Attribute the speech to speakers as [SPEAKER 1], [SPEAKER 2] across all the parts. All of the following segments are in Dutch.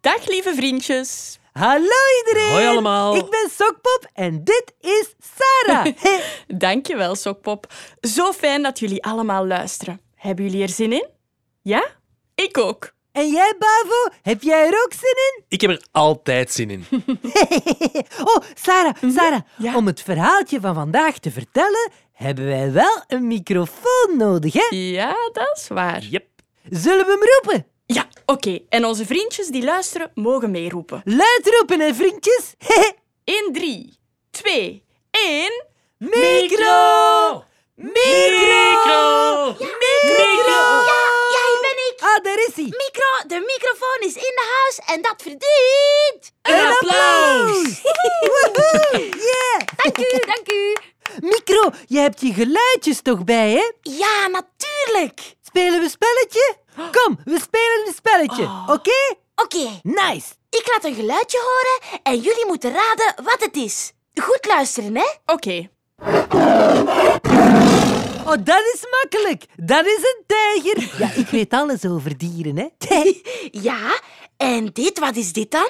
[SPEAKER 1] Dag lieve vriendjes.
[SPEAKER 2] Hallo iedereen!
[SPEAKER 3] Hoi allemaal.
[SPEAKER 2] Ik ben Sokpop en dit is Sarah. Hey.
[SPEAKER 1] Dankjewel, Sokpop. Zo fijn dat jullie allemaal luisteren. Hebben jullie er zin in? Ja? Ik ook.
[SPEAKER 2] En jij, Bavo, heb jij er ook zin in?
[SPEAKER 3] Ik heb er altijd zin in.
[SPEAKER 2] Oh, Sarah,
[SPEAKER 3] Mhm,
[SPEAKER 2] Sarah,
[SPEAKER 1] Ja.
[SPEAKER 2] om het verhaaltje van vandaag te vertellen, hebben wij wel een microfoon nodig, hè?
[SPEAKER 1] Ja, dat is waar.
[SPEAKER 3] Yep.
[SPEAKER 2] Zullen we hem roepen?
[SPEAKER 1] Ja, oké. En onze vriendjes die luisteren mogen meeroepen.
[SPEAKER 2] Luid roepen, hè, vriendjes?
[SPEAKER 1] In drie, twee, één.
[SPEAKER 2] Micro!
[SPEAKER 3] Micro!
[SPEAKER 2] Micro!
[SPEAKER 4] Ja, hier ben ik.
[SPEAKER 2] Ah, daar is hij.
[SPEAKER 4] Micro, de microfoon is in de huis en dat verdient.
[SPEAKER 3] Een applaus!
[SPEAKER 2] Woehoe, yeah.
[SPEAKER 4] Dank u, dank u.
[SPEAKER 2] Micro, je hebt je geluidjes toch bij, hè?
[SPEAKER 4] Ja, natuurlijk.
[SPEAKER 2] Spelen we spelletje? Kom, we spelen een spelletje, oké?
[SPEAKER 4] Oké,
[SPEAKER 2] Nice.
[SPEAKER 4] ik laat een geluidje horen en jullie moeten raden wat het is. Goed luisteren, hè?
[SPEAKER 1] Oké.
[SPEAKER 2] Oh, dat is makkelijk. Dat is een tijger. Ja, ik weet alles over dieren, hè?
[SPEAKER 4] Ja, en dit, wat is dit dan?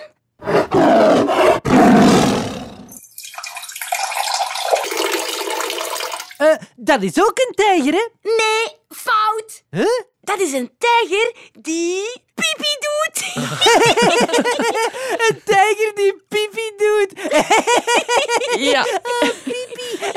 [SPEAKER 2] Eh, dat is ook een tijger, hè?
[SPEAKER 4] Nee, fout.
[SPEAKER 2] Huh?
[SPEAKER 4] Dat is een tijger die pipi doet.
[SPEAKER 2] Een tijger die pipi doet.
[SPEAKER 1] Ja.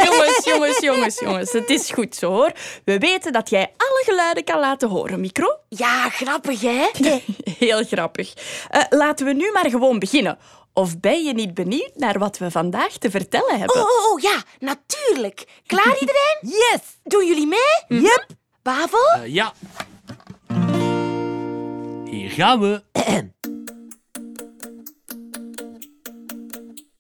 [SPEAKER 1] jongens, jongens, jongens, jongens. Het is goed zo hoor. We weten dat jij alle geluiden kan laten horen, micro.
[SPEAKER 4] Ja, grappig, hè?
[SPEAKER 1] Heel grappig. Eh, laten we nu maar gewoon beginnen. Of ben je niet benieuwd naar wat we vandaag te vertellen hebben?
[SPEAKER 4] Oh, oh, oh, ja, natuurlijk. Klaar iedereen?
[SPEAKER 2] Yes.
[SPEAKER 4] Doen jullie mee?
[SPEAKER 2] Yep.
[SPEAKER 4] Bavo?
[SPEAKER 3] Eh, ja. Hier gaan we.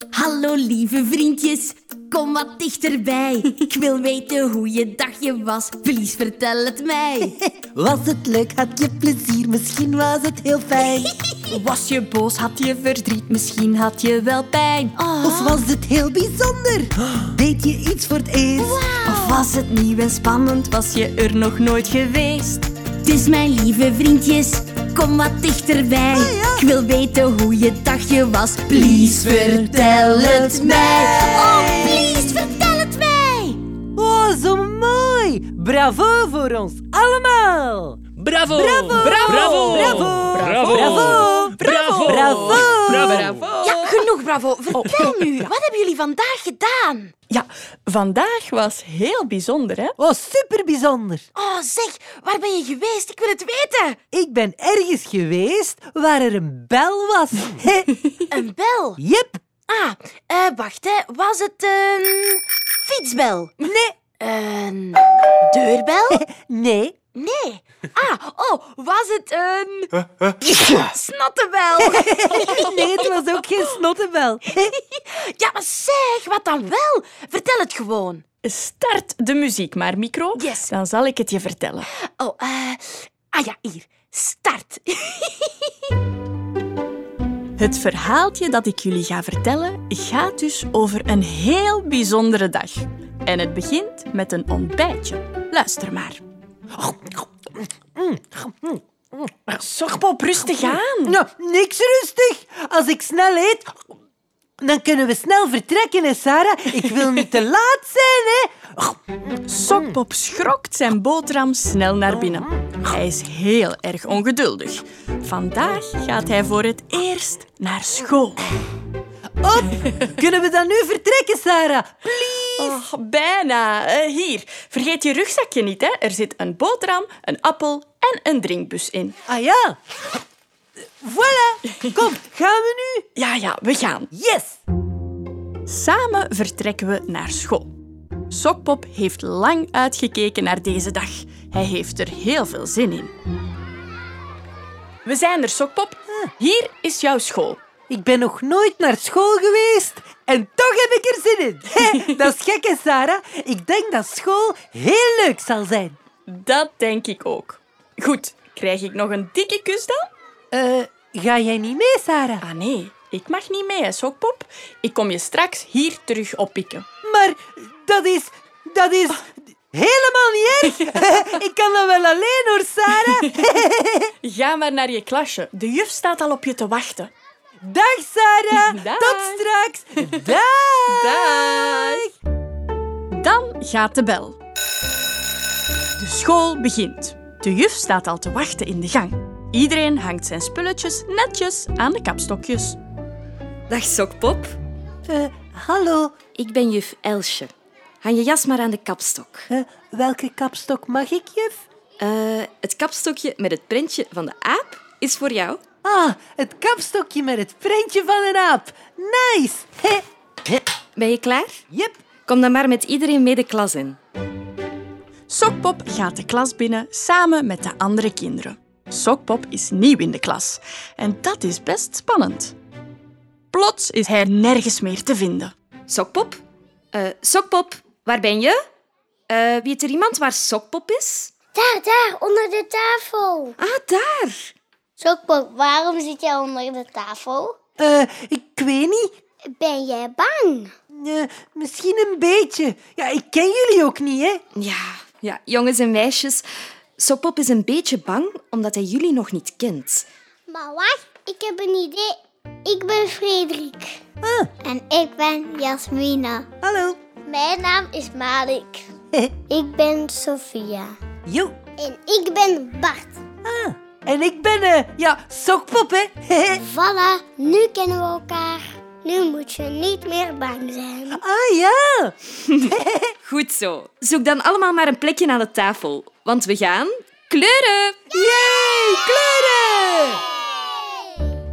[SPEAKER 4] Hallo lieve vriendjes, kom wat dichterbij. Ik wil weten hoe je dagje was, please vertel het mij.
[SPEAKER 2] Was het leuk? Had je plezier? Misschien was het heel fijn.
[SPEAKER 4] Was je boos, had je verdriet, misschien had je wel pijn.
[SPEAKER 2] Of was het heel bijzonder? Deed je iets voor het eerst?
[SPEAKER 4] Of was het nieuw en spannend, was je er nog nooit geweest. Dus mijn lieve vriendjes, kom wat dichterbij. Ik wil weten hoe je dagje was, please vertel het mij. Oh, please vertel het mij.
[SPEAKER 2] Oh, zo mooi. Bravo voor ons allemaal.
[SPEAKER 3] Bravo!
[SPEAKER 2] Bravo!
[SPEAKER 3] Bravo!
[SPEAKER 2] Bravo!
[SPEAKER 3] Bravo!
[SPEAKER 2] Bravo!
[SPEAKER 3] Bravo!
[SPEAKER 2] Bravo!
[SPEAKER 3] oh. Bravo!
[SPEAKER 4] Ja, genoeg, bravo. Vertel nu, wat hebben jullie vandaag gedaan?
[SPEAKER 1] Ja, vandaag was heel bijzonder, hè?
[SPEAKER 2] Oh, super bijzonder.
[SPEAKER 4] Oh, zeg, waar ben je geweest? Ik wil het weten.
[SPEAKER 2] Ik ben ergens geweest waar er een bel was. Hè?
[SPEAKER 4] Een bel.
[SPEAKER 2] Jep.
[SPEAKER 4] Ah, eh, wacht, hè. Was het een fietsbel?
[SPEAKER 2] Nee.
[SPEAKER 4] Een deurbel?
[SPEAKER 2] Nee.
[SPEAKER 4] Nee. Ah, oh, was het een... Snottenbel.
[SPEAKER 2] Nee, het was ook geen snottenbel. Hè?
[SPEAKER 4] Ja, maar zeg, wat dan wel? Vertel het gewoon.
[SPEAKER 1] Start de muziek maar, micro.
[SPEAKER 4] Yes.
[SPEAKER 1] Dan zal ik het je vertellen.
[SPEAKER 4] Oh, eh... Ah ja, hier. Start.
[SPEAKER 1] Het verhaaltje dat ik jullie ga vertellen gaat dus over een heel bijzondere dag. En het begint met een ontbijtje. Luister maar. Sokpop, rustig aan.
[SPEAKER 2] Nou, niks rustig. Als ik snel eet, dan kunnen we snel vertrekken, hè, Sarah. Ik wil niet te laat zijn, hè.
[SPEAKER 1] Sokpop schrokt zijn boterham snel naar binnen. Hij is heel erg ongeduldig. Vandaag gaat hij voor het eerst naar school.
[SPEAKER 2] Op. Kunnen we dan nu vertrekken, Sarah?
[SPEAKER 1] Oh, bijna. Eh, hier, vergeet je rugzakje niet. Hè. Er zit een boterham, een appel en een drinkbus in.
[SPEAKER 2] Ah ja. Voilà. Kom, gaan we nu?
[SPEAKER 1] Ja, ja, we gaan.
[SPEAKER 2] Yes.
[SPEAKER 1] Samen vertrekken we naar school. Sokpop heeft lang uitgekeken naar deze dag. Hij heeft er heel veel zin in. We zijn er, Sokpop. Hier is jouw school.
[SPEAKER 2] Ik ben nog nooit naar school geweest en toch heb ik er zin in. Hè, dat is gek, hè, Sarah. Ik denk dat school heel leuk zal zijn.
[SPEAKER 1] Dat denk ik ook. Goed, krijg ik nog een dikke kus dan?
[SPEAKER 2] Eh, ga jij niet mee, Sarah?
[SPEAKER 1] Ah nee, ik mag niet mee, hè, Sokpop. Ik kom je straks hier terug oppikken.
[SPEAKER 2] Maar dat is... Dat is... Helemaal niet erg. ik kan dat wel alleen hoor, Sarah.
[SPEAKER 1] Ga maar naar je klasje. De juf staat al op je te wachten.
[SPEAKER 2] Dag Sarah.
[SPEAKER 1] Dag.
[SPEAKER 2] Tot straks. Dag.
[SPEAKER 1] Dag! Dan gaat de bel. De school begint. De juf staat al te wachten in de gang. Iedereen hangt zijn spulletjes netjes aan de kapstokjes.
[SPEAKER 5] Dag Sokpop.
[SPEAKER 2] Eh, hallo.
[SPEAKER 5] Ik ben juf Elsje. Hang je jas maar aan de kapstok.
[SPEAKER 2] Eh, welke kapstok mag ik, juf?
[SPEAKER 5] Eh, het kapstokje met het prentje van de aap is voor jou.
[SPEAKER 2] Ah, het kapstokje met het prentje van een aap. Nice. Hé. Hé.
[SPEAKER 5] Ben je klaar?
[SPEAKER 2] Jep.
[SPEAKER 5] Kom dan maar met iedereen mee de klas in.
[SPEAKER 1] Sokpop gaat de klas binnen samen met de andere kinderen. Sokpop is nieuw in de klas en dat is best spannend. Plots is hij nergens meer te vinden.
[SPEAKER 5] Sokpop? Eh, sokpop, waar ben je? Eh, weet er iemand waar Sokpop is?
[SPEAKER 6] Daar, daar, onder de tafel.
[SPEAKER 5] Ah, daar.
[SPEAKER 6] Sokpok, waarom zit jij onder de tafel?
[SPEAKER 2] Eh, ik weet niet.
[SPEAKER 6] Ben jij bang?
[SPEAKER 2] Eh, misschien een beetje. Ja, ik ken jullie ook niet, hè?
[SPEAKER 5] Ja, ja, jongens en meisjes. Sokpop is een beetje bang omdat hij jullie nog niet kent.
[SPEAKER 6] Maar wacht, ik heb een idee. Ik ben Frederik. En ik ben Jasmina.
[SPEAKER 2] Hallo.
[SPEAKER 6] Mijn naam is Malik.
[SPEAKER 2] Hé.
[SPEAKER 6] Ik ben Sofia.
[SPEAKER 2] Jo.
[SPEAKER 6] En ik ben Bart.
[SPEAKER 2] Ah. En ik ben, eh, ja, sokpop, hè? Hé.
[SPEAKER 6] Voilà, nu kennen we elkaar. Nu moet je niet meer bang zijn.
[SPEAKER 2] ah, ja.
[SPEAKER 5] Goed zo. Zoek dan allemaal maar een plekje aan de tafel, want we gaan kleuren.
[SPEAKER 2] Yay, kleuren!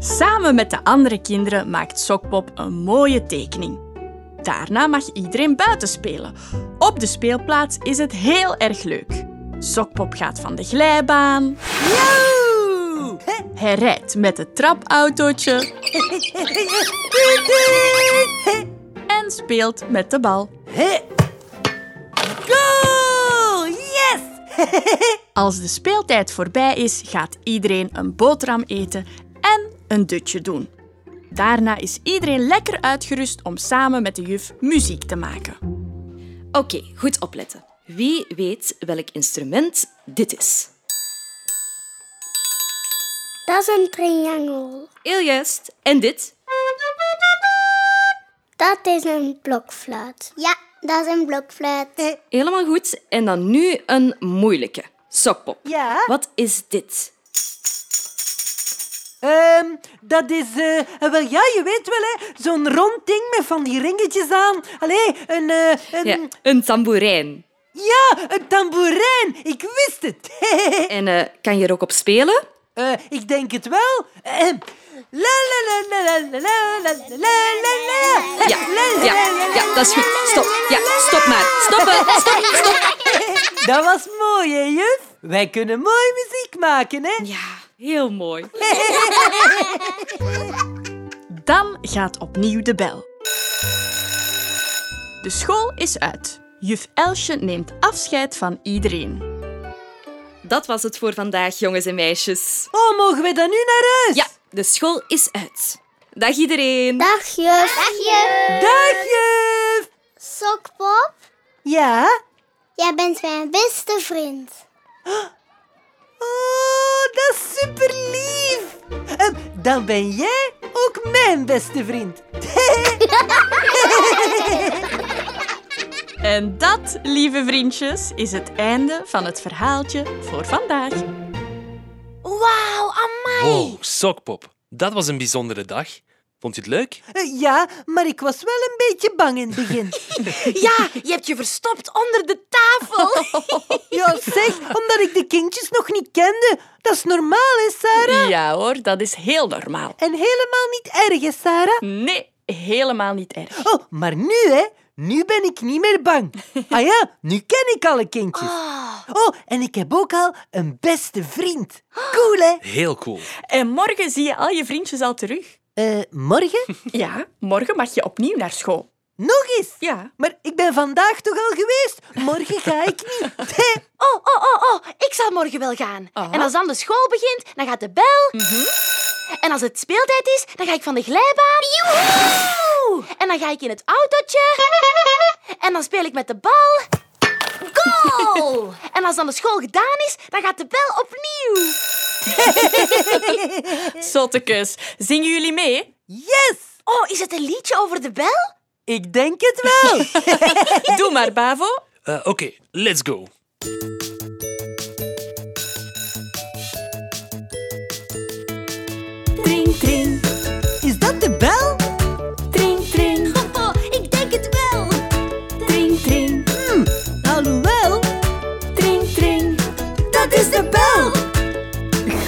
[SPEAKER 1] Samen met de andere kinderen maakt Sokpop een mooie tekening. Daarna mag iedereen buiten spelen. Op de speelplaats is het heel erg leuk. Sokpop gaat van de glijbaan.
[SPEAKER 2] Yo!
[SPEAKER 1] Hij rijdt met het trapautootje
[SPEAKER 2] Doei, doei.
[SPEAKER 1] en speelt met de bal.
[SPEAKER 2] Hé. Goal! Yes!
[SPEAKER 1] Als de speeltijd voorbij is, gaat iedereen een boterham eten en een dutje doen. Daarna is iedereen lekker uitgerust om samen met de juf muziek te maken.
[SPEAKER 5] Oké, goed opletten. Wie weet welk instrument dit is?
[SPEAKER 6] Dat is een triangel.
[SPEAKER 5] Heel juist. En dit?
[SPEAKER 6] Dat is een blokfluit. Ja, dat is een blokfluit.
[SPEAKER 5] Helemaal goed. En dan nu een moeilijke. Sokpop.
[SPEAKER 2] Ja?
[SPEAKER 5] Wat is dit?
[SPEAKER 2] Ehm, dat is... eh, eh, wel, ja, je weet wel, hè. Zo'n rond ding met van die ringetjes aan. Allee, een... eh, een
[SPEAKER 5] Ja, een tamboerijn.
[SPEAKER 2] ja, een tamboerijn. Ik wist het.
[SPEAKER 5] En eh, kan je er ook op spelen?
[SPEAKER 2] Eh, ik denk het wel. Ehem. La la la la la la la la la la la.
[SPEAKER 5] Ja, ja, ja, dat is goed. Stop. Ja, stop maar. Stoppen. Stop, stop.
[SPEAKER 2] Dat was mooi, hè, juf? Wij kunnen mooi muziek maken, hè?
[SPEAKER 5] Ja, heel mooi.
[SPEAKER 1] Dan gaat opnieuw de bel. De school is uit. Juf Elsje neemt afscheid van iedereen.
[SPEAKER 5] Dat was het voor vandaag, jongens en meisjes.
[SPEAKER 2] Oh, mogen we dan nu naar huis?
[SPEAKER 5] Ja, de school is uit. Dag iedereen.
[SPEAKER 6] Dag juf. Dag juf.
[SPEAKER 2] Dag, juf.
[SPEAKER 6] Sokpop,
[SPEAKER 2] Ja?
[SPEAKER 6] jij bent mijn beste vriend.
[SPEAKER 2] Oh, dat is super lief. dan ben jij ook mijn beste vriend.
[SPEAKER 1] En dat, lieve vriendjes, is het einde van het verhaaltje voor vandaag.
[SPEAKER 6] Wauw, amai.
[SPEAKER 3] Wow, sokpop. Dat was een bijzondere dag. Vond je het leuk?
[SPEAKER 2] Eh, ja, maar ik was wel een beetje bang in het begin.
[SPEAKER 5] Ja, je hebt je verstopt onder de tafel.
[SPEAKER 2] Ja, zeg, omdat ik de kindjes nog niet kende. Dat is normaal, hè, Sarah?
[SPEAKER 1] Ja hoor, dat is heel normaal.
[SPEAKER 2] En helemaal niet erg, hè, Sarah?
[SPEAKER 1] Nee, helemaal niet erg.
[SPEAKER 2] Oh, maar nu, hè? Nu ben ik niet meer bang. Ah ja, nu ken ik alle kindjes. Oh, en ik heb ook al een beste vriend. Cool, hè?
[SPEAKER 3] Heel cool.
[SPEAKER 1] En morgen zie je al je vriendjes al terug.
[SPEAKER 2] Eh, morgen?
[SPEAKER 1] Ja, morgen mag je opnieuw naar school.
[SPEAKER 2] Nog eens.
[SPEAKER 1] Ja.
[SPEAKER 2] Maar ik ben vandaag toch al geweest? Morgen ga ik niet. Hè?
[SPEAKER 4] Oh, oh, oh, oh, ik zal morgen wel gaan.
[SPEAKER 6] Oh.
[SPEAKER 1] Ah.
[SPEAKER 4] En als dan de school begint, dan gaat de bel.
[SPEAKER 6] Mhm.
[SPEAKER 4] En als het speeltijd is, dan ga ik van de glijbaan. Joehoe! En dan ga ik in het autootje. En dan speel ik met de bal. Goal! En als dan de school gedaan is, dan gaat de bel opnieuw.
[SPEAKER 1] Zottekes, zingen jullie mee?
[SPEAKER 2] Yes!
[SPEAKER 4] Oh, is het een liedje over de bel?
[SPEAKER 2] Ik denk het wel.
[SPEAKER 5] Doe maar, Bavo.
[SPEAKER 3] Eh, Oké, let's go.
[SPEAKER 7] Tring, tring,
[SPEAKER 2] Is dat de bel?
[SPEAKER 7] tring, tring.
[SPEAKER 6] Oh, ik denk het wel.
[SPEAKER 7] Tring, tring,
[SPEAKER 2] Alhoewel,
[SPEAKER 7] tring, tring.
[SPEAKER 2] dat is de bel.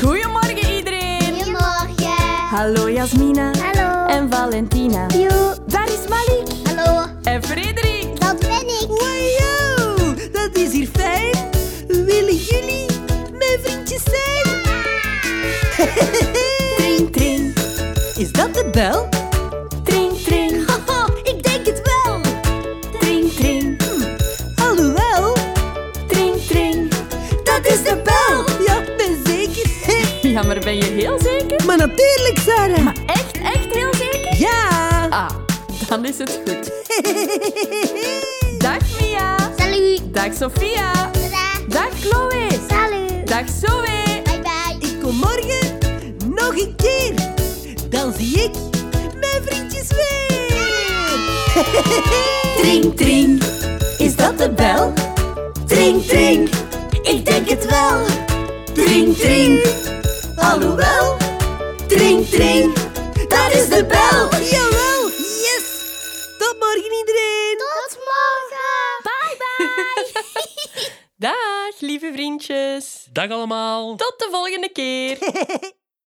[SPEAKER 5] Goedemorgen, iedereen.
[SPEAKER 6] Goedemorgen.
[SPEAKER 7] Hallo Jasmina
[SPEAKER 6] Hallo.
[SPEAKER 7] en Valentina.
[SPEAKER 6] Joe.
[SPEAKER 7] Daar is Malik.
[SPEAKER 6] Hallo,
[SPEAKER 5] En Frederik.
[SPEAKER 6] dat ben ik.
[SPEAKER 2] Wajo, dat is hier fijn. Willen jullie mijn vriendjes zijn?
[SPEAKER 5] Ah!
[SPEAKER 7] Tring, tring,
[SPEAKER 2] Is dat de bel?
[SPEAKER 7] tring, tring.
[SPEAKER 6] Oh, ik denk het wel.
[SPEAKER 7] Tring, tring,
[SPEAKER 2] Hm, Alhoewel,
[SPEAKER 7] tring, tring.
[SPEAKER 2] dat is de bel. Ja, ben zeker.
[SPEAKER 5] Ja, maar ben je heel zeker?
[SPEAKER 2] Maar natuurlijk, Sarah.
[SPEAKER 5] Echt, echt heel zeker?
[SPEAKER 2] Ja.
[SPEAKER 5] Ah, dan is het goed. Dag Mia.
[SPEAKER 6] Salut.
[SPEAKER 5] Dag Sofia.
[SPEAKER 6] Tada.
[SPEAKER 5] Dag Chloe.
[SPEAKER 6] Salut.
[SPEAKER 5] Dag Zoe.
[SPEAKER 6] Bye bye.
[SPEAKER 2] Ik kom morgen nog een keer. Dan zie ik mijn vriendjes weer.
[SPEAKER 7] Tring, tring. Is dat de bel? Tring, tring. Ik denk het wel. Tring, tring. Alhoewel. Tring, tring. Dat is de bel.
[SPEAKER 2] Jawel, yes. Tot morgen iedereen.
[SPEAKER 6] Tot morgen.
[SPEAKER 5] Dag, lieve vriendjes.
[SPEAKER 3] Dag allemaal.
[SPEAKER 5] Tot de volgende keer.